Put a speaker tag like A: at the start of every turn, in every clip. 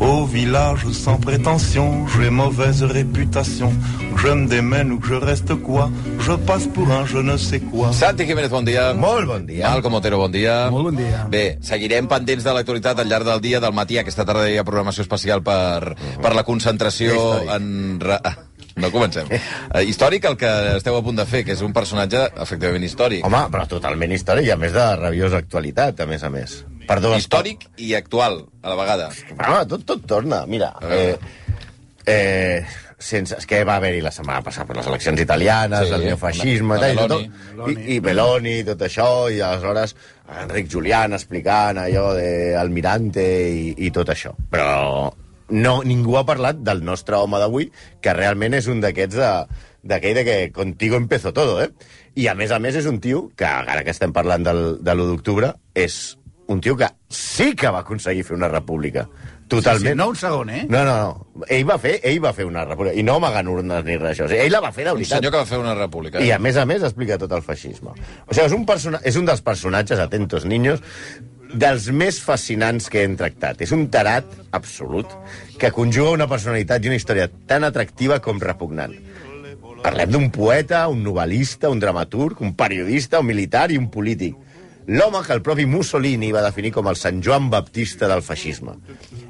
A: au village sans prétention, j'ai mauvaise réputation. Que je me démène ou que je reste quoi, je passe pour un je ne sais quoi.
B: Santi Jiménez, bon dia.
C: Molt bon dia.
B: Malcom Otero, bon dia.
D: Molt bon dia.
B: Bé, seguirem pendents de l'actualitat al llarg del dia, del matí. Aquesta tarda hi ha programació especial per, per la concentració
C: Històric.
B: en... ra- Ah, No comencem. Eh, històric el que esteu a punt de fer, que és un personatge efectivament històric.
C: Home, però totalment històric i a més de rabiosa actualitat, a més a més. Per dues
B: Històric i actual, a la vegada.
C: Home, tot, tot torna. Mira, eh,
B: veure.
C: eh, sense, és que va haver-hi la setmana passada per les eleccions
B: Sí,
C: italianes, sí, el neofeixisme...
B: la-
C: tal,
B: la
C: i,
B: Meloni.
C: tot, i, I Meloni, tot això, i aleshores Enric Julián explicant allò de Almirante i, i tot això. Però no, ningú ha parlat del nostre home d'avui, que realment és un d'aquests de d'aquell de que contigo empezó todo, eh? I, a més a més, és un tio que, ara que estem parlant del, de l'1 d'octubre, és un tio que sí que va aconseguir fer una república. Totalment.
D: Sí, sí, no un segon, eh?
C: No, no, no. Ell va fer, ell va fer una república. I no amagant urnes ni res, això. O sigui, ell la va fer de
B: Un
C: veritat.
B: senyor que va fer una república.
C: I a més a més explica tot el feixisme. O sigui, és un, persona... és un dels personatges, atentos niños, dels més fascinants que hem tractat. És un tarat absolut que conjuga una personalitat i una història tan atractiva com repugnant. Parlem d'un poeta, un novel·lista, un dramaturg, un periodista, un militar i un polític. L'home que el propi Mussolini va definir com el Sant Joan Baptista del feixisme.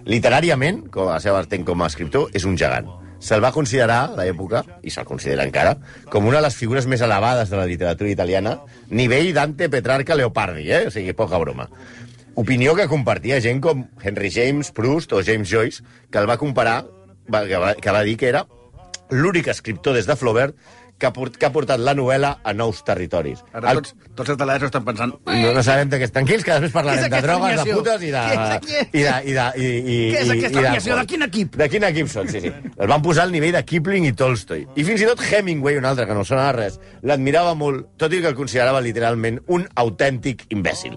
C: Literàriament, com a la seva artent com a escriptor, és un gegant. Se'l va considerar, a l'època, i se'l considera encara, com una de les figures més elevades de la literatura italiana, nivell Dante Petrarca Leopardi, eh? O sigui, poca broma. Opinió que compartia gent com Henry James, Proust o James Joyce, que el va comparar, va- que va, que va dir que era l'únic escriptor des de Flaubert que ha, port, que ha portat la novel·la a nous territoris.
D: Ara
C: El-
D: tots, tots els italians ho estan pensant.
C: No, no sabem de què... Tranquils, que després
D: Què
C: parlarem
D: és
C: de
D: aquesta
C: drogues, de
D: alineació?
C: putes i de...
D: Què és-
C: I de, i de, i, i,
D: Què és
C: i-
D: aquesta
C: i de-
D: alineació? De quin equip?
C: De quin equip són, sí, sí. El van posar al nivell de Kipling i Tolstoi. I fins i tot Hemingway, un altre que no sona a res, l'admirava molt, tot i que el considerava literalment un autèntic imbècil.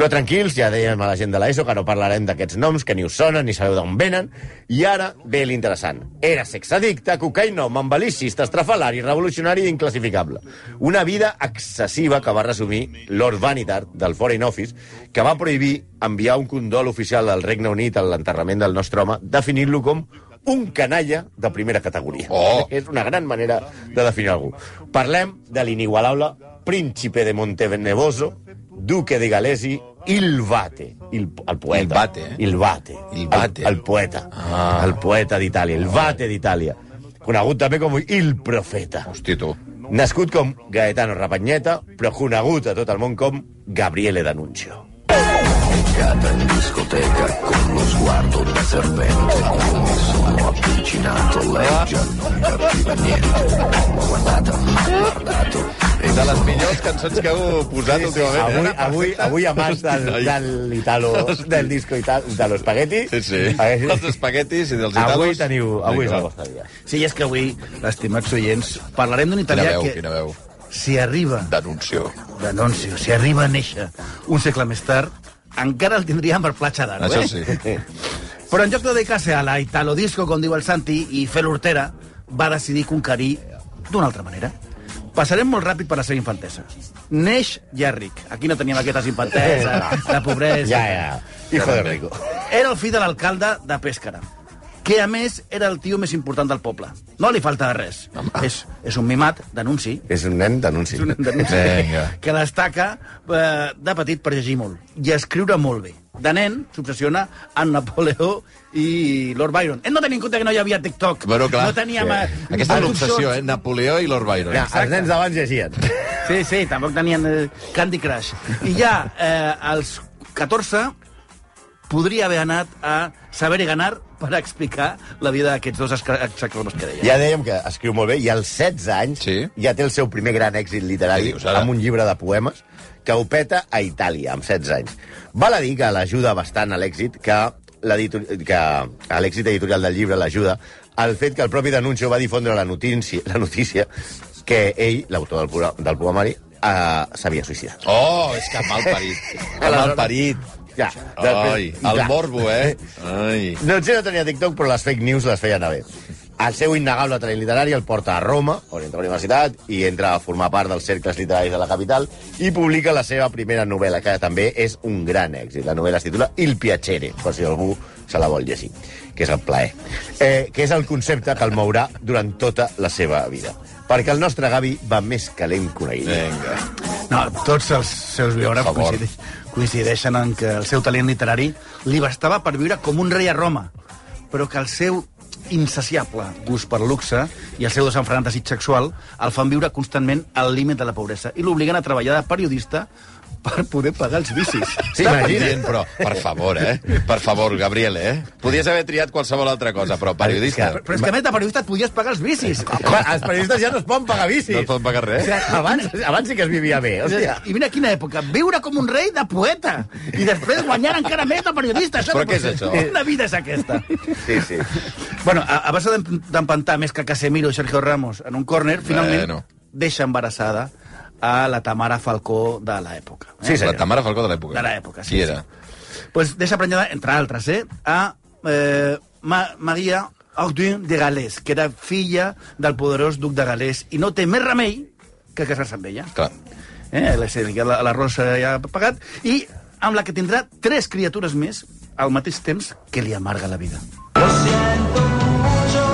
C: Però tranquils, ja dèiem a la gent de l'ESO que no parlarem d'aquests noms, que ni us sonen, ni sabeu d'on venen. I ara ve l'interessant. Era sexadicte, cocainòman, balicista, estrafalari, revolucionari i inclassificable. Una vida excessiva que va resumir Lord Vanitart, del Foreign Office, que va prohibir enviar un condol oficial del Regne Unit a l'enterrament del nostre home, definint-lo com un canalla de primera categoria.
B: Oh!
C: És una gran manera de definir algú. Parlem de l'inigualable príncipe de Montevenevoso, duque de Galesi, Il Vate, il, el poeta.
B: Il Vate, eh?
C: Il Vate.
B: Il Vate.
C: El, el poeta. Ah. El poeta d'Itàlia, il Vate d'Itàlia. Conegut també com il Profeta.
B: Hosti, tu.
C: Nascut com Gaetano Rapanyeta, però conegut a tot el món com Gabriele D'Annunzio.
B: De les millors cançons que heu posat últimament.
C: Avui,
B: eh?
C: avui, avui a més del, del, italo, del disco italo, de l'Espagueti...
B: Sí, sí. Els espaguetis i dels italos.
C: Avui teniu... Avui és el vostre dia.
D: Sí, és que avui, estimats oients, parlarem d'un
B: Quina
D: italià
B: veu,
D: que,
B: quina veu.
D: si arriba,
B: D'anunció.
D: d'anuncio, si arriba a néixer un segle més tard, encara el tindríem per platja d'aro, eh?
B: Això sí.
D: Però en lloc de dedicar-se a la italodisco, com diu el Santi, i fer l'hortera, va decidir conquerir d'una altra manera. Passarem molt ràpid per la seva infantesa. Neix ja ric. Aquí no teníem aquestes infanteses, la pobresa...
C: Ja, ja. Hijo de rico.
D: Era el fill de l'alcalde de Pèscara, que a més era el tio més important del poble. No li falta de res. És, és un mimat d'anunci,
C: És un nen d'anunci.
D: és un nen d'anunci,
B: Vinga.
D: que destaca eh, de petit per llegir molt i escriure molt bé. De nen s'obsessiona amb Napoleó i Lord Byron. Hem de tenir en compte que no hi havia TikTok.
B: Bueno, clar.
D: no teníem... Sí.
B: Aquesta és l'obsessió, eh? Napoleó i Lord Byron.
C: Ja, els nens d'abans llegien.
D: Sí, sí, tampoc tenien eh, Candy Crush. I ja eh, als 14 podria haver anat a Saber i Ganar per explicar la vida d'aquests dos exactes que deia.
C: Ja dèiem que escriu molt bé, i als 16 anys
B: Sí.
C: ja té el seu primer gran èxit
B: Què
C: literari
B: dius, ara?
C: amb un llibre de poemes que ho peta a Itàlia, amb 16 anys. Val a dir que l'ajuda bastant a l'èxit, que l'editor- que a l'èxit editorial del llibre l'ajuda el fet que el propi Denuncio va difondre la notícia, la notícia que ell, l'autor del, pura- del poemari, eh, s'havia suïcidat.
B: Oh, és que mal parit. Que mal parit.
C: Ja,
B: Ai,
C: i
B: el
C: clar,
B: morbo, eh? Ai.
C: Doncs ell no tenia TikTok, però les fake news les feia anar bé. El seu innegable talent literari el porta a Roma, on entra a la universitat, i entra a formar part dels cercles literaris de la capital, i publica la seva primera novel·la, que també és un gran èxit. La novel·la es titula Il Piacere, per si algú se la vol llegir, que és el plaer, eh, que és el concepte que el mourà durant tota la seva vida. Perquè el nostre Gavi va més calent que una guilla.
B: Vinga.
D: No, tots els seus biògrafs
C: favor.
D: coincideix, coincideixen en que el seu talent literari li bastava per viure com un rei a Roma, però que el seu insaciable gust per luxe i el seu desenfrenat desig sexual el fan viure constantment al límit de la pobresa i l'obliguen a treballar de periodista per poder pagar els vicis.
C: Sí,
B: Està
C: imagina't.
B: pendent, però, per favor, eh? Per favor, Gabriel, eh? Podies haver triat qualsevol altra cosa, però periodista...
D: Però és que a més de periodista et podies pagar els vicis.
B: Eh,
C: Va, Els periodistes ja no es poden pagar bicis.
B: No et poden pagar res.
C: O sigui, abans, abans sí que es vivia bé, hòstia.
D: Eh, I mira quina època, viure com un rei de poeta i després guanyar encara més de periodista. Això
B: Però
D: no
B: què
D: pot
B: és
D: ser.
B: això?
D: Quina vida és aquesta?
C: Sí, sí.
D: Bueno, a, a base d'em- d'empantar més que Casemiro i Sergio Ramos en un
B: Eh,
D: córner, finalment
B: Bueno.
D: deixa embarassada a la Tamara Falcó de l'època.
C: Sí, senyor.
B: la Tamara Falcó de l'època.
D: De l'època,
B: Qui
D: sí,
B: era?
D: Pues deixa prenyada, entre altres, eh, a eh, Ma Maria Audun de Galès, que era filla del poderós duc de Galès, i no té més remei que casar-se amb ella.
B: Clar.
D: Eh, la, sí, que la, la Rosa ja ha pagat, i amb la que tindrà tres criatures més al mateix temps que li amarga la vida.
B: Això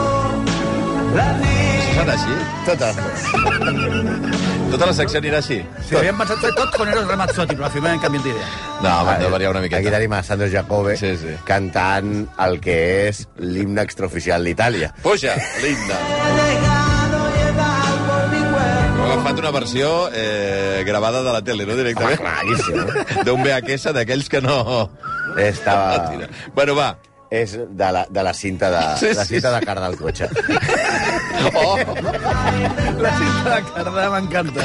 B: serà així?
C: Totes.
B: Tota la secció anirà així?
D: Sí, havíem pensat fer tot con Eros Ramazzotti, però al final hem canviat d'idea.
B: No, home, de variar una
C: Ah, eh. Aquí
B: miqueta.
C: tenim a Sandro Jacobe
B: Sí, sí.
C: cantant el que és l'himne extraoficial d'Itàlia.
B: Puja, linda. Ho ha agafat una versió eh, gravada de la tele, no
C: Home,
B: directament?
C: claríssim.
B: D'un VHS d'aquells que no... Ah,
C: Estava...
B: Tira. Bueno, va.
C: És de la, de la cinta de,
B: Sí,
C: sí, la
B: sí,
C: cinta
B: sí.
C: de car del cotxe.
B: Oh,
D: La cinta de Cardà m'encanta.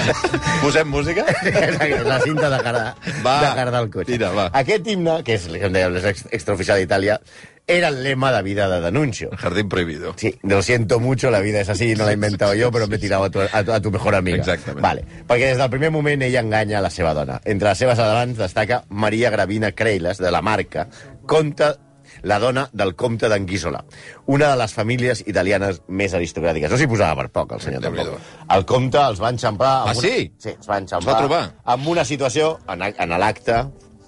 B: posem música?
C: la cinta de car, de,
B: Va,
C: de car del cotxe.
B: tira, va.
C: Aquest himne, que és, com dèiem, l'ex- extraoficial d'Itàlia, era el lema de vida de Denuncio.
B: Jardín prohibido.
C: Sí, lo siento mucho, la vida es así, no la he inventado yo, però m'he tirat a, tu, a, tu- a tu mejor amiga.
B: Exactament.
C: Vale, perquè des del primer moment ella enganya la seva dona. Entre les seves adavants destaca Maria Gravina Creiles, de la marca, conta la dona del comte d'Anguissola, una de les famílies italianes més aristocràtiques. No s'hi posava per poc, el senyor,
B: Déu-n'hi-do.
C: tampoc. El comte els va enxampar... amb
B: Ah, sí?
C: Sí, els va enxampar.
B: Es va trobar?
C: Amb una situació, en, en l'acte,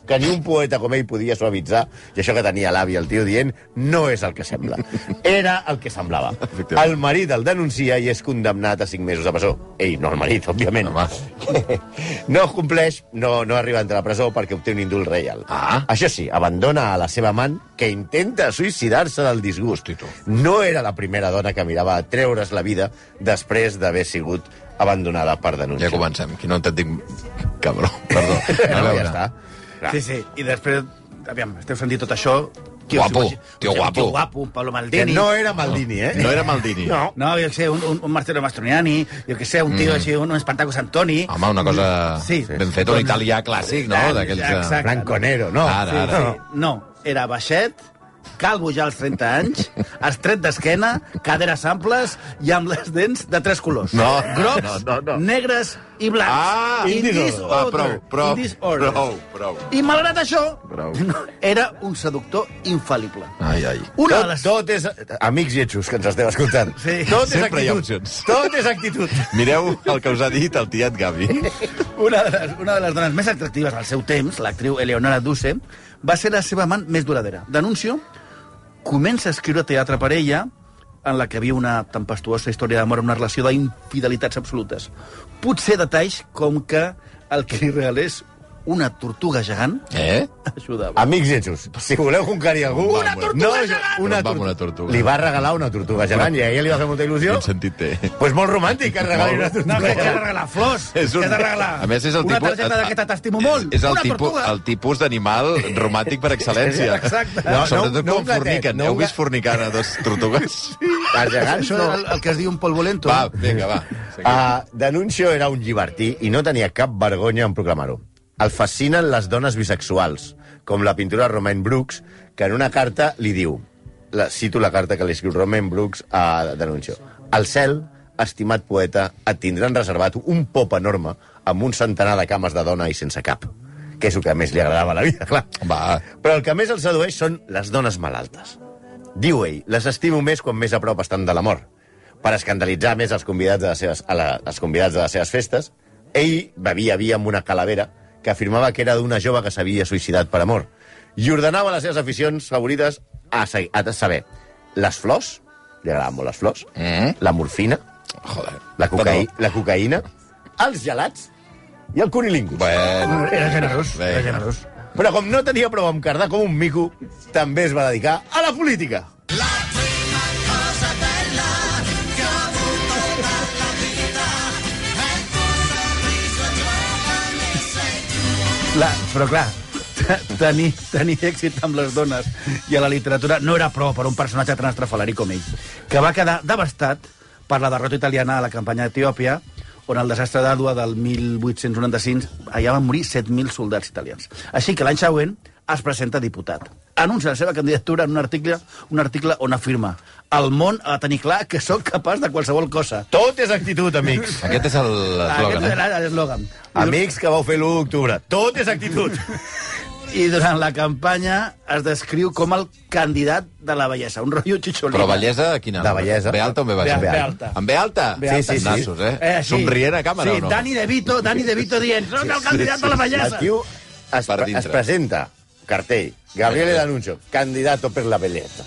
C: que ni un poeta com ell podia suavitzar, i això que tenia l'avi el tio dient, no és el que sembla. Era el que semblava.
B: Efectivament.
C: El marit el denuncia i és condemnat a 5 mesos de presó. Ell, no el marit, òbviament.
B: Home.
C: No compleix, no, no arriba entre la presó perquè obté un indult reial.
B: Ah.
C: Això sí, abandona a la seva amant que intenta suïcidar-se del disgust. No era la primera dona que mirava a treure's la vida després d'haver sigut abandonada per denúncia.
B: Ja comencem. Qui no t'entenc... Cabró, perdó. A
C: No, ja
B: veure.
C: està.
D: Sí, sí, i després, aviam, esteu sentint tot això... qui
B: Guapo,
D: us imagi-
B: tio
D: un
B: guapo.
D: Tio guapo, un Pablo
C: Que
D: Maldini...
C: no era Maldini, eh?
B: No era Maldini.
C: No.
D: No, jo què sé, un, un, un Marcelo Mastroniani, jo què sé, un tio mm. així, un, un Espartacus Antoni...
B: Home, una cosa sí.
D: Sí. doncs,
B: ben feta, un italià clàssic, no? D'aquells... eh,
D: Exacte.
C: Franconero, no.
B: Ara, ara.
D: Sí, no, era baixet, calvo ja als 30 anys, estret d'esquena, caderes amples i amb les dents de tres colors.
B: No,
D: Grocs,
B: no, no, no.
D: negres i blancs.
B: Ah,
D: in
B: indis-
D: disorder,
B: Ah, prou, prou,
D: in disorder.
B: prou, prou.
D: I malgrat això,
B: Prou.
D: no, era un seductor infal·lible.
B: Ai, ai.
D: Una de
C: Tot,
D: les...
C: tot és... Amics lletjos que ens esteu escoltant.
D: Sí.
C: Tot és
B: Sempre hi ha
C: actitud.
B: opcions.
C: Tot és actitud.
B: Mireu el que us ha dit el tiet Gavi.
D: Una de, les, una de les dones més atractives al seu temps, l'actriu Eleonora Duse, va ser la seva amant més duradera. D'anuncio, comença a escriure teatre per ella, en la que viu una tempestuosa història d'amor amb una relació d'infidelitats absolutes. Potser detalls com que el que li regalés una tortuga gegant
B: Eh?
D: ajudava.
C: Amics lletjos, si voleu conquerir algú...
B: Una tortuga
C: gegant!
B: Però em va amb una tortuga.
C: Li va regalar una tortuga gegant i a ella li va fer molta il·lusió.
B: Quin sentit té?
C: Pues molt romàntic que et regali una
D: No, que
C: tortuga
D: t'ha de
C: gegant.
D: regalar flors,
B: És un...
D: que t'ha de regalar
B: A més, és el
D: una
B: tipus...
D: targeta d'aquesta t'estimo molt,
B: És, és el
D: una
B: tipus,
D: tortuga.
B: el tipus d'animal romàtic per excel·lència.
D: Exacte.
B: No,
C: No,
B: Sobretot
C: no, no
B: quan
C: un gatet,
B: forniquen.
C: no
B: Heu
C: un
B: vist
C: ga-
B: fornicant a dos tortugues?
C: Els gegants
D: Això
C: no...
D: és el, el que es diu un polvolento.
B: Va, vinga, va.
C: Ah, Denuncio era un llibertí i no tenia cap vergonya en proclamar-ho. El fascinen les dones bisexuals, com la pintura Romain Brooks, que en una carta li diu... La, cito la carta que li escriu Romain Brooks a Denuncio. Al cel, estimat poeta, et tindran reservat un pop enorme amb un centenar de cames de dona i sense cap que és el que més li agradava a la vida, clar.
B: Va.
C: Però el que més el sedueix són les dones malaltes. Diu ell, les estimo més quan més a prop estan de la mort. Per escandalitzar més els convidats de les seves, a la, els convidats de les seves festes, ell bevia vi amb una calavera que afirmava que era d'una jove que s'havia suïcidat per amor i ordenava les seves aficions favorites a, se- a saber les flors, li agradaven molt les flors,
B: Mm.
C: la morfina,
B: Joder.
C: la, cocaï
B: Perdó.
C: la cocaïna, els gelats i el cunilingus.
B: Bueno,
D: Era generós,
B: Vinga.
D: era generós.
C: Però com no tenia prou amb cardar com un mico, també es va dedicar a la política.
D: La, però clar, te- tenir, tenir èxit amb les dones i a la literatura no era prou per a un personatge tan estrafalari com ell, que va quedar devastat per la derrota italiana a la campanya d'Etiòpia, on el desastre d'Àdua del 1895 allà van morir 7.000 soldats italians. Així que l'any següent es presenta diputat. Anuncia la seva candidatura en un article, un article on afirma el món ha de tenir clar que sóc capaç de qualsevol cosa.
C: Tot és actitud, amics.
B: Aquest és el- l'eslògan,
D: Ah, Aquest
B: eh?
D: era l'eslògan.
C: Amics que vau fer l'1 d'octubre. Tot és actitud.
D: I durant la campanya es descriu com el candidat de la bellesa, un rotllo xixolina.
B: Però bellesa, quina?
C: De bellesa.
B: Ve alta o ve baixa?
D: Ve- ve alta.
B: Amb ve alta?
D: Ve alta.
C: Sí, sí, sí.
B: Nassos, eh? Somrient a càmera
D: sí,
B: o no?
D: Dani De Vito, Dani De Vito dient, soc el candidat de la
C: El
D: bellesa.
C: tio es,
B: Per
C: pre
B: dintre.
C: es presenta, cartell, Gabriele D'Annunzio, candidato per la belleza.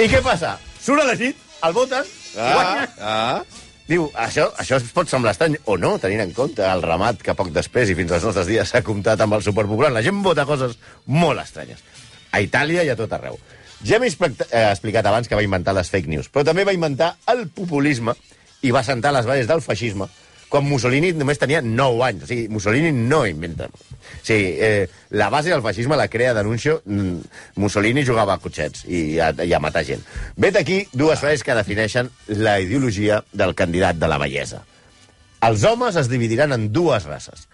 C: I què passa? Surt elegit, el voten, ah.
B: Ah,
C: guanya.
B: ah.
C: Diu, això, això es pot semblar estrany o no, tenint en compte el ramat que poc després i fins als nostres dies s'ha comptat amb el superpopular. La gent vota coses molt estranyes. A Itàlia i a tot arreu. Ja m'he expect- eh, explicat abans que va inventar les fake news, però també va inventar el populisme i va sentar les bases del feixisme quan Mussolini només tenia 9 anys. O sigui, Mussolini no inventa. O sigui, eh, la base del feixisme la crea d'anuncio mm, Mussolini jugava a cotxets i a, i a matar gent. Vet aquí dues frases que defineixen la ideologia del candidat de la bellesa. Els homes es dividiran en dues races.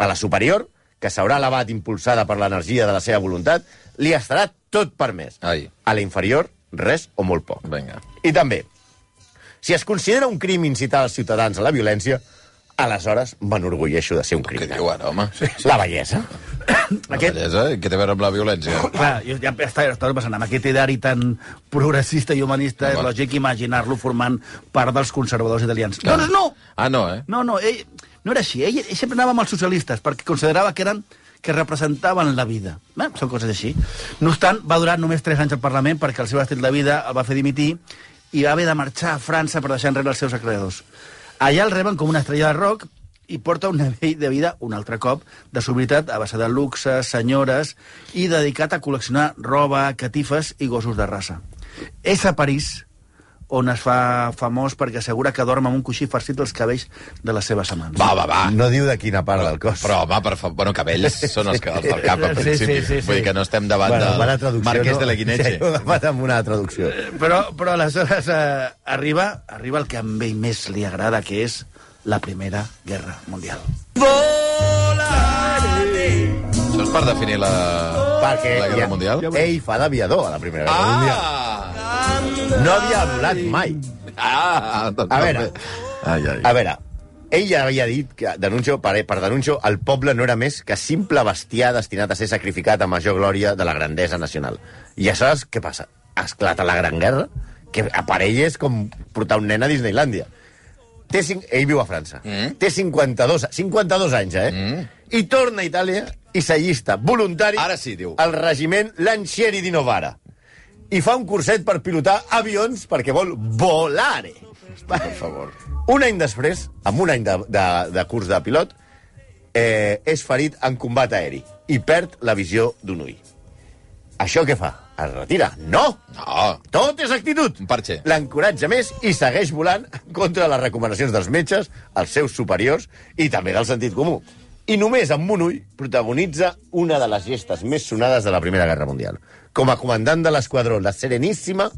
C: A la superior, que s'haurà elevat impulsada per l'energia de la seva voluntat, li estarà tot permès.
B: Ai.
C: A la inferior, res o molt poc.
B: Vinga.
C: I també, si es considera un crim incitar els ciutadans a la violència, aleshores m'enorgulleixo de ser un
B: Què
C: criminal.
B: diu ara, home?
C: La bellesa.
B: La
D: Aquest-
B: bellesa? I Què té a veure amb la violència?
D: Clar, jo ja està, està passant amb aquest ideari tan progressista i humanista, és
B: Home.
D: lògic imaginar-lo formant part dels conservadors italians.
B: Clar.
D: Doncs no!
B: Ah, no, eh?
D: No, no, ell no era així. Ell, ell sempre anava amb els socialistes perquè considerava que eren que representaven la vida. Eh? Són coses així. No obstant, va durar només 3 anys al Parlament perquè el seu estil de vida el va fer dimitir i va haver de marxar a França per deixar enrere els seus acreedors. Allà el reben com una estrella de rock i porta un nivell de vida un altre cop de sobrietat a base de luxe, senyores i dedicat a col·leccionar roba, catifes i gossos de raça. És a París on es fa famós perquè assegura que dorm amb un coixí farcit dels cabells de les seves amants.
B: Va, va, va.
C: No diu de quina part del cos.
B: Però, home, per favor, bueno, cabells són els, que, els del cap, al
D: Sí,
B: principi.
D: sí, sí, sí.
B: Vull dir que no estem davant
C: mala
B: del
C: traducció,
B: Marquès
C: no?
B: de la Guineche.
C: Ja ho he agafat amb una traducció.
D: Però, però aleshores eh, arriba, arriba el que a ell més li agrada, que és la Primera Guerra Mundial.
B: Això és per definir la,
C: Perquè
B: la Guerra
C: ja-
B: Mundial?
C: ell fa d'aviador a la Primera Guerra Mundial.
B: Ah!
C: No havia volat mai.
B: Ah! Doncs,
C: A veure.
B: Ai, ai.
C: A veure, ell ja havia dit que, denuncio, per, per denuncio, el poble no era més que simple bestiar destinat a ser sacrificat a major glòria de la grandesa nacional. I aleshores, què passa? Esclata la Gran Guerra, que aparell és com portar un nen a Disneylandia. Té cinc... Ell viu a França.
B: Mm.
C: Té 52, 52 anys, eh? Mm. I torna a Itàlia i s'allista voluntari
B: Ara sí, diu.
C: al regiment Lancieri di Novara. I fa un curset per pilotar avions perquè vol volare. Per favor. Un any després, amb un any de, de, de curs de pilot, eh, és ferit en combat aeri i perd la visió d'un ull. Això què fa? Es retira? No!
B: No,
C: Tot és actitud.
B: Un parxe.
C: L'encoratja més i segueix volant contra les recomanacions dels metges, els seus superiors i també del sentit comú. I només amb un ull protagonitza una de les gestes més sonades de la Primera Guerra Mundial. Com a comandant de l'esquadró, la Sereníssima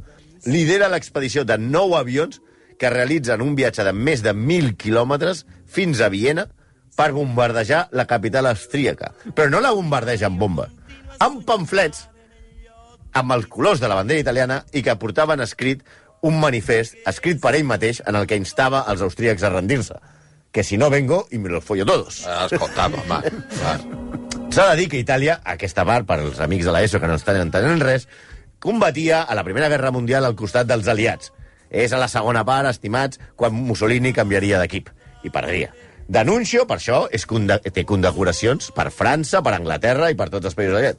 C: lidera l'expedició de nou avions que realitzen un viatge de més de 1.000 quilòmetres fins a Viena per bombardejar la capital austríaca. Però no la bombardeja amb bombes, amb pamflets amb els colors de la bandera italiana i que portaven escrit un manifest escrit per ell mateix en el que instava els austríacs a rendir-se. Que si no vengo y me los follo todos.
B: escolta, Ah, home. Va.
C: S'ha de dir que Itàlia, aquesta part, per als amics de l'ESO que no estan entenent res, combatia a la Primera Guerra Mundial al costat dels aliats. És a la segona part, estimats, quan Mussolini canviaria d'equip i perdria. D'anuncio, per això, és conde té condecoracions per França, per Anglaterra i per tots els països aliats.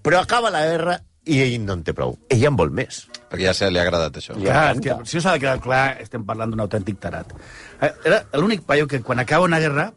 C: Però acaba la guerra i ell no en té prou. Ell en vol més.
B: Perquè ja se li ha agradat això.
C: Ja.
D: Clar, és que, si us ha quedat clar, estem parlant d'un autèntic tarat. Eh, Era l'únic paio que, quan acaba una guerra,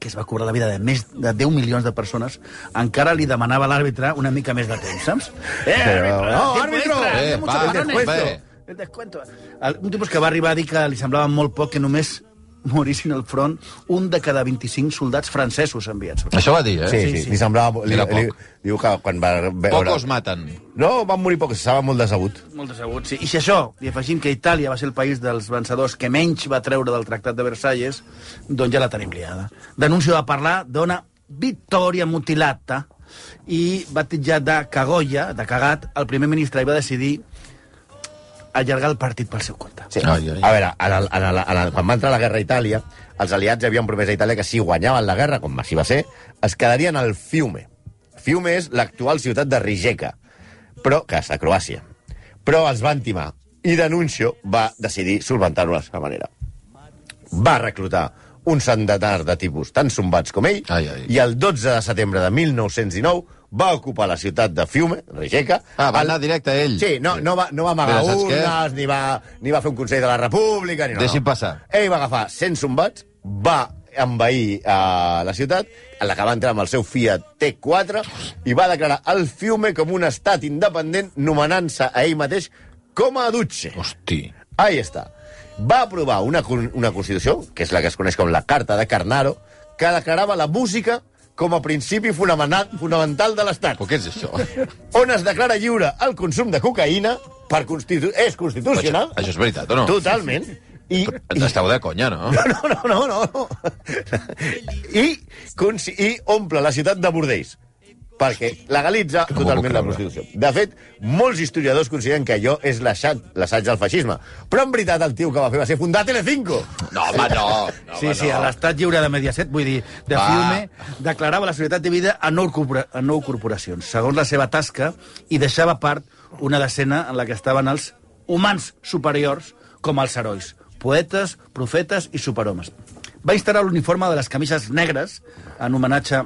D: que es va cobrar la vida de més de 10 milions de persones, encara li demanava a l'àrbitre una mica més de temps, saps? Eh,
C: Però- No, árbitro!
D: extra,
B: Eh,
D: eh, mucho
B: va,
D: balones.
B: descuento.
D: El descuento. El- Un tipus que va arribar a dir que li semblava molt poc que només morissin al front un de cada 25 soldats francesos enviats.
B: Això va dir, eh?
C: Sí, sí, sí. Li semblava... Li,
B: Era poc.
C: li, diu que quan va veure...
B: Pocos maten.
C: No, van morir pocs, estava molt decebut.
D: Molt decebut, sí. I si això, i afegim que Itàlia va ser el país dels vencedors que menys va treure del Tractat de Versalles, doncs ja la tenim liada. D'anunci va parlar d'una victòria mutilata i va titllar de cagolla, de cagat, el primer ministre i va decidir allargar el partit pel seu compte.
C: Sí.
B: Ai, ai.
C: A veure, en el, en el, en el, quan va entrar la guerra a Itàlia, els aliats havien promès a Itàlia que si guanyaven la guerra, com així va ser, es quedarien al Fiume. Fiume és l'actual ciutat de Rijeka, però que és a Croàcia. Però els van timar i Denuncio va decidir solventar-ho de la manera. Va reclutar un centenar de tipus tan sombats com ell
B: Ai, ai.
C: i el 12 de setembre de 1919 va ocupar la ciutat de Fiume, Rijeka...
B: Ah, va
C: el-
B: anar directe ell.
C: Sí, no, no, va, no va amagar
B: Mira, saps què?
C: urnes, ni va, ni va fer un Consell de la República... Ni no,
B: Deixi'm
C: no.
B: passar.
C: Ell va agafar 100 sombats, va envair eh, la ciutat, en la que va entrar amb el seu Fiat T4, i va declarar el Fiume com un estat independent, nomenant-se a ell mateix com a Duce.
B: Hosti.
C: Ahí està. Va aprovar una, con- una constitució, que és la que es coneix com la Carta de Carnaro, que declarava la música com a principi fonamental, fonamental de l'Estat
B: Però què és això?
C: on es declara lliure el consum de cocaïna per constitu és
B: això,
C: constitucional.
B: això és veritat o no?
C: Totalment. I, i,
B: Estava de conya, no?
C: no, no, no, no, no. I, cons- I omple la ciutat de bordells perquè legalitza
B: no m'ho puc
C: totalment la
B: creure.
C: prostitució. De fet, molts historiadors consideren que allò és l'assaig l'assaig del feixisme. Però en veritat el tio que va fer va ser fundar Telecinco.
B: No, home, no. no
D: Sí,
B: home,
D: sí, a
B: no.
D: l'estat lliure de Mediaset, vull dir, de
B: Va.
D: Fiume, declarava la seguretat de vida a nou, corpora- a nou corporacions, segons la seva tasca, i deixava a part una decena en la que estaven els humans superiors com els herois, poetes, profetes i superhomes. Va instaurar l'uniforme de les camises negres, en homenatge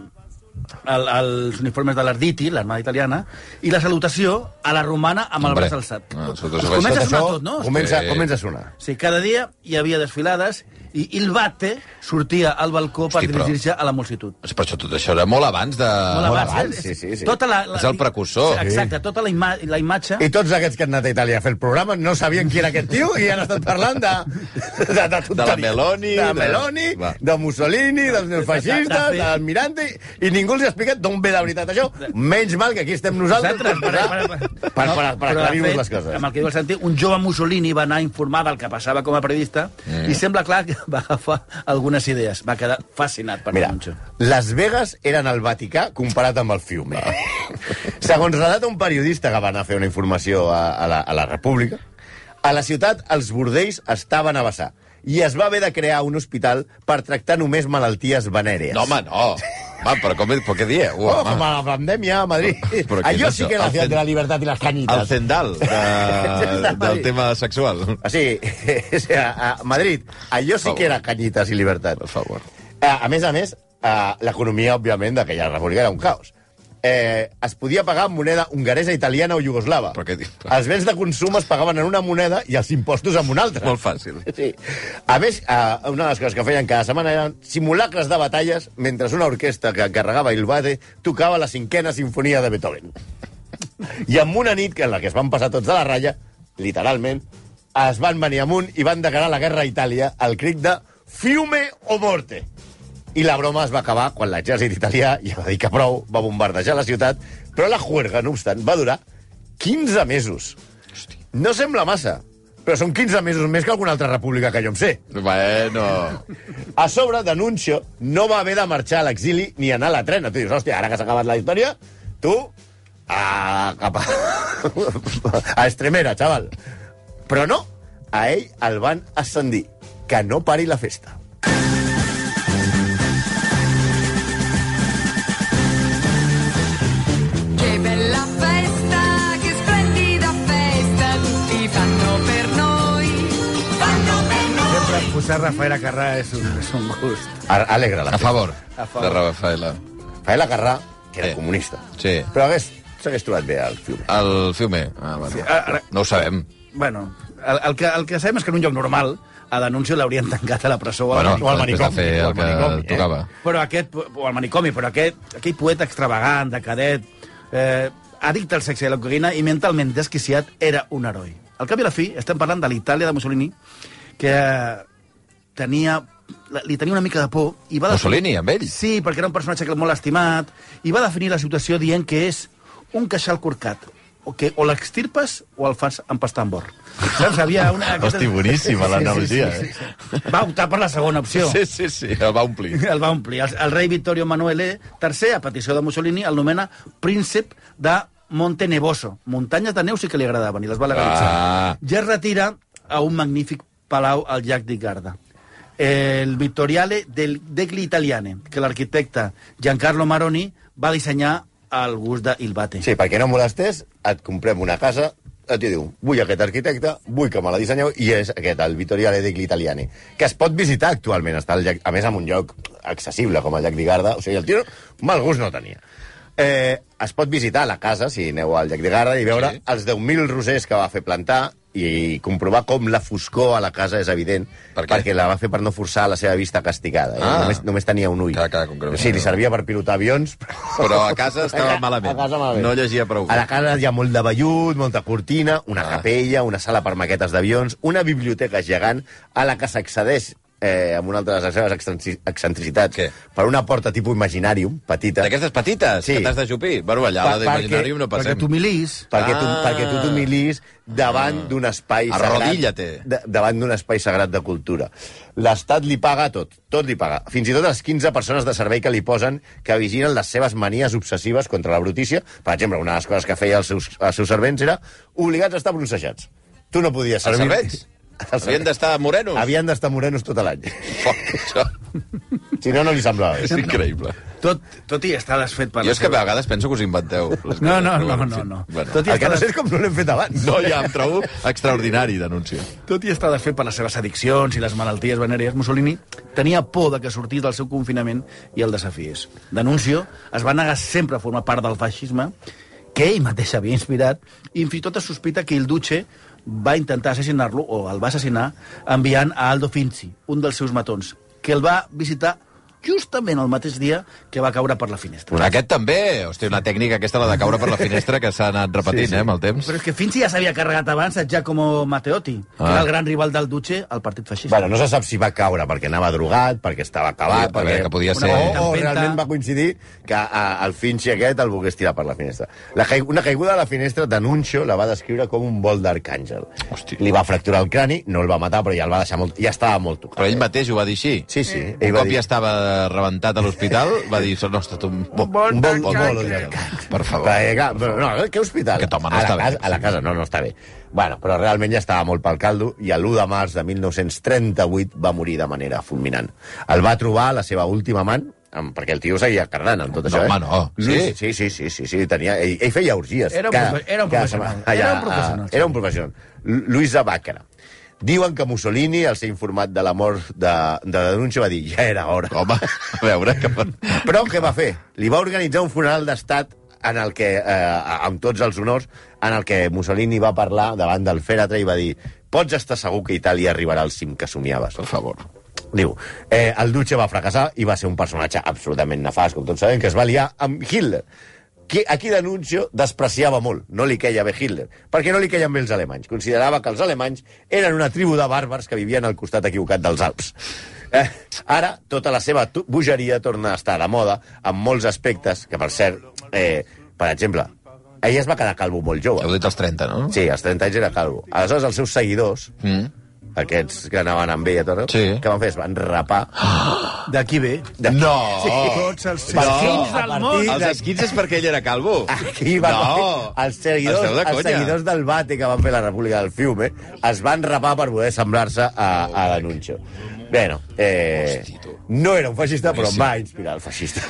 D: al, als uniformes de l'Arditi, l'armada italiana, i la salutació a la romana amb el
B: Hombre.
D: braç alçat.
B: Ah, sota
D: Es
B: això-
D: comença
B: sota
D: a sonar tot, no?
C: Comença,
B: Sí.
C: comença a sonar.
D: Sí, cada dia hi havia desfilades i Il Bate sortia al balcó per
B: Hosti, però-
D: dirigir-se a la multitud.
B: Però això, tot això era molt abans de...
D: Molt
C: Ah, molt
D: eh?
C: abans, sí, sí, sí.
D: Tota la, la,
B: És el precursor.
D: Exacte, tota la, ima la imatge...
C: I tots aquests que han anat a Itàlia a fer el programa no sabien qui era aquest tio i han estat parlant de... De, de, tonteries.
B: la Meloni,
C: De
B: de-
C: Meloni, de,
B: Va.
C: Mussolini, dels neofeixistes,
D: de- de-
C: de l'almirante... I ningú els ha explicat d'on ve la veritat això. Menys mal que aquí estem nosaltres per, posar- per, per, per,
D: No,
C: per
D: però, de
C: aclarir-nos
D: fet,
C: les
D: Amb
C: coses.
D: el que diu el Santi, un jove Mussolini va anar a informar del que passava com a periodista
B: Mm.
D: i sembla clar que va agafar algunes idees. Va quedar fascinat per
C: Mira,
D: l'anuncio.
C: Las Vegas eren el Vaticà comparat amb el Fiume.
B: Ah.
C: Segons relata un periodista que va anar a fer una informació a, a, la, a la República, a la ciutat els bordells estaven a vessar i es va haver de crear un hospital per tractar només malalties venèries.
B: No, home, no. Home, però, com, però què dieu?
C: eh? Oh,
B: home?
C: com a la pandèmia a Madrid.
B: Però què
C: Allò
B: és
C: sí
B: això?
C: que era la
B: El
C: ciutat
B: cen-
C: de la libertat i les
B: El
C: canyites.
B: cendal de, del tema sexual.
C: O sigui, o sigui, a Madrid, allò sí
B: favor.
C: que era canyites i libertat.
B: Per favor.
C: A, a més a més, eh, l'economia, òbviament, d'aquella república era un caos. Eh, es podia pagar amb moneda hongaresa, italiana o iugoslava.
B: Però què dius?
C: Els béns de consum es pagaven en una moneda i els impostos en una altra.
B: Molt fàcil.
C: Sí. A més, eh, una de les coses que feien cada setmana eren simulacres de batalles mentre una orquestra que encarregava Il Bade tocava la cinquena sinfonia de Beethoven. I en una nit en la que es van passar tots de la ratlla, literalment, es van venir amunt i van declarar la guerra a Itàlia al cric de Fiume o morte. I la broma es va acabar quan l'exèrcit italià ja va dir que prou, va bombardejar la ciutat, però la juerga, no obstant, va durar 15 mesos. No sembla massa, però són 15 mesos més que alguna altra república que jo em sé.
B: Bueno.
C: A sobre, Denuncio no va haver de marxar a l'exili ni anar a la trena. Tu dius, hòstia, ara que s'ha acabat la història, tu... A... cap a... a Estremera, xaval. Però no, a ell el van ascendir. Que no pari la festa.
E: Che bella festa, che splendida festa, tutti fanno per noi, fanno per noi.
D: Sempre posar Rafaela Carrà és un, és un gust.
C: A- Alegra la
B: A
C: festa.
B: favor.
D: A favor.
B: De Rafaela.
C: Faela Carrà, que era
B: Sí.
C: comunista.
B: Sí.
C: Però hagués s'hagués trobat bé al fiume.
B: El fiume. Ah, bueno.
D: ara-
B: No ho sabem.
D: Bueno, el, el, que, el que sabem és que en un lloc normal a denúncia l'haurien tancat a la presó o al
B: Bueno,
D: manicomi.
C: o al
B: després de
C: manicomi,
B: fer
C: o al
B: el que
C: manicomi, eh?
B: tocava.
D: Però aquest, o al manicomi, però aquest, aquell poeta extravagant, decadet, eh, addicte al sexe i a la cocaïna i mentalment desquiciat, era un heroi. Al cap i a la fi, estem parlant de l'Itàlia de Mussolini, que tenia li tenia una mica de por i va
B: Mussolini, amb ell?
D: Sí, perquè era un personatge que molt estimat i va definir la situació dient que és un queixal corcat o, que, o l'extirpes o el fas empastar amb bord. Saps? Havia una...
F: Hosti, boníssima l'analogia,
D: eh? Va optar per la segona opció.
B: Sí, sí, sí, el va omplir.
D: El va omplir. El, el rei Vittorio Emanuele III, a petició de Mussolini, el nomena príncep de Monte Nevoso. Muntanyes de neu sí que li agradaven i les va legalitzar.
B: Ah.
D: Ja es retira a un magnífic palau al llac di Garda. El Vittoriale del degli Italiane, que l'arquitecte Giancarlo Maroni va dissenyar al gust de Ilbate.
C: Sí, perquè no molestés, et comprem una casa, et diu, vull aquest arquitecte, vull que me la dissenyeu, i és aquest, el Vittorio Aledegli Italiani, que es pot visitar actualment, està al llac, a més en un lloc accessible com el llac di Garda, o sigui, el tio mal gust no tenia. Eh, es pot visitar la casa, si aneu al llac di Garda, i veure sí. els 10.000 rosers que va fer plantar i comprovar com la foscor a la casa és evident,
B: Per què?
C: perquè la va fer per no forçar la seva vista castigada. Eh?
B: Ah.
C: Només, només tenia un ull.
B: Clar, clar, concretament.
C: sí, li servia per pilotar avions, però...
B: Però a casa estava
C: A ca-
B: malament.
C: a casa malament.
B: No llegia prou.
C: A la casa hi ha molt de vellut, molta cortina, una
B: Ah.
C: ah. capella, una sala per maquetes d'avions, una biblioteca gegant a la que s'accedeix eh, amb una altra de les seves excentrici- excentricitats
B: Què?
C: per una porta tipus imaginàrium, petita,
B: D'aquestes petites,
C: Sí.
B: que t'has de xupir. Bueno, allà a la
C: Per-
B: d'Imaginarium
C: perquè-
B: no
D: Perquè
B: passem.
D: t'humilis...
C: perquè tu,
B: Ah. Mm.
C: perquè tu t'humilis davant d'un espai sagrat...
B: Arrodilla-te.
C: de- Davant d'un espai sagrat de cultura. L'Estat li paga tot, tot li paga. Fins i tot les 15 persones de servei que li posen que vigilen les seves manies obsessives contra la brutícia. Per exemple, una de les coses que feia els seus, els seus servents era obligats a estar bronsejats. Tu no podies
B: Els
C: servir...
B: servents?
C: Els
B: Havien
C: servents.
B: d'estar morenos.
C: Havien d'estar morenos tot l'any.
B: Fuck, això
C: Si no, no li semblava bé.
B: és increïble.
D: Tot, tot i estar desfet per...
B: Jo
D: la
B: és que a
D: seva-
B: vegades penso que us inventeu. les
D: No, no,
B: coses, però
D: no,
B: bueno,
D: no,
B: sí.
D: no.
B: Bueno.
D: Tot i
C: El que
D: estar
C: no sé és com no l'hem fet abans.
B: No, ja em trobo extraordinari d'anunci.
D: Tot i estar desfet per les seves addiccions i les malalties venèries, Mussolini tenia por de que sortís del seu confinament i el desafiés. D'anuncio, es va negar sempre a formar part del feixisme, que ell mateix havia inspirat, i fins i tot es sospita que il Duce va intentar assassinar-lo, o el va assassinar, enviant a Aldo Finzi, un dels seus matons, que el va visitar justament el mateix dia que va caure per la finestra.
B: Aquest també, hòstia, una tècnica aquesta, la de caure per la finestra, que s'ha anat repetint, eh, amb el temps.
D: Però és que Finzi ja s'havia carregat abans a Giacomo Matteotti, que
B: Ah.
D: era el gran rival del Duce al partit feixista.
C: Bueno, no se sap si va caure perquè anava drogat, perquè estava
B: Sí, a
C: acabat, perquè...
B: veure, que podia
C: Una
B: ser-
C: O, o
D: Tempenta.
C: realment va coincidir que a, el Finchi aquest el volgués tirar per la finestra. La caigu- una caiguda a la finestra d'Anuncio la va descriure com un vol d'arcàngel.
B: Hosti.
C: Li va fracturar el crani, no el va matar, però ja el va deixar molt... Ja estava molt tocat.
B: Però ell mateix ho va dir així.
C: Sí, sí. ell
B: Un
C: va
B: cop
C: dir-
B: ja estava rebentat a l'hospital, va dir, no, ha estat un bon...
C: Un bon, un bon
B: Per favor.
C: Perquè, clar, però, no, que hospital?
B: Aquest home no
C: a la
B: està bé.
C: casa, A la casa, no, no està bé. Bueno, però realment ja estava molt pel caldo i l'1 de març de 1938 va morir de manera fulminant. El va trobar la seva última amant, amb- perquè el tio seguia cardant amb tot
B: No,
C: això,
B: home,
C: eh?
B: no.
C: Sí, sí, sí, sí, sí, sí tenia, ell, ell feia orgies.
D: Era un profe- era un professional,
C: setmana.
D: era un professional,
C: A, ah, era un professional. Lu- Luisa Bàcara. Diuen que Mussolini, al ser informat de la mort de, de la denúncia, va dir ja era hora.
B: Home, a veure... Que...
C: Però què va fer? Li va organitzar un funeral d'estat en el que, eh, amb tots els honors, en el que Mussolini va parlar davant del fèretre i va dir pots estar segur que Itàlia arribarà al cim que somiaves.
B: Per favor.
C: Diu, eh, el Duce va fracassar i va ser un personatge absolutament nefast, com tots sabem, que es va liar amb Hitler. Qui, a qui denuncio despreciava molt, no li queia bé Hitler, perquè no li queien bé els alemanys. Considerava que els alemanys eren una tribu de bàrbars que vivien al costat equivocat dels Alps. Eh, ara, tota la seva tu- bogeria torna a estar de moda en molts aspectes, que per cert, eh, per exemple, ell es va quedar calvo molt jove.
B: Heu dit els 30, no?
C: Sí, als 30 anys era calvo. Aleshores, els seus seguidors,
B: Mm.
C: aquests que anaven amb ell a tot,
B: Sí. Ah,
C: que van fer? Es van rapar
D: D'aquí ve...
B: No!
D: Tots els
C: Per
D: esquins
C: a
D: del
C: partir
D: món.
B: Els esquins és perquè ell era calvo.
C: Aquí van
B: No!
C: els, seguidors,
B: Esteu de
C: els
B: conya.
C: seguidors del Bate que van fer la República del Fiume es van rapar per poder semblar-se a, a l'anuncio. Bueno, eh,
B: Hosti, tu.
C: no era un feixista, però em
B: Boníssim.
C: va inspirar el feixista.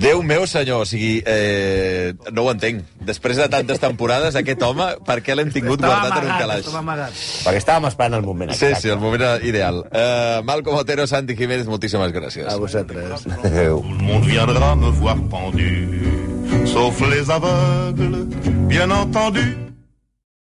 B: Déu meu senyor, o sigui, eh, no ho entenc. Després de tantes temporades, aquest home, per què l'hem tingut guardat en un calaix?
D: estava amagat.
C: Perquè estàvem esperant el moment
B: Sí, sí,
C: exacte.
B: el moment ideal. Uh, Malcom Otero, Santi Jiménez, moltíssimes gràcies.
D: A vosaltres.
C: Adéu.
A: Tout le monde viendra me voir pendu. sauf les aveugles, bien entendu.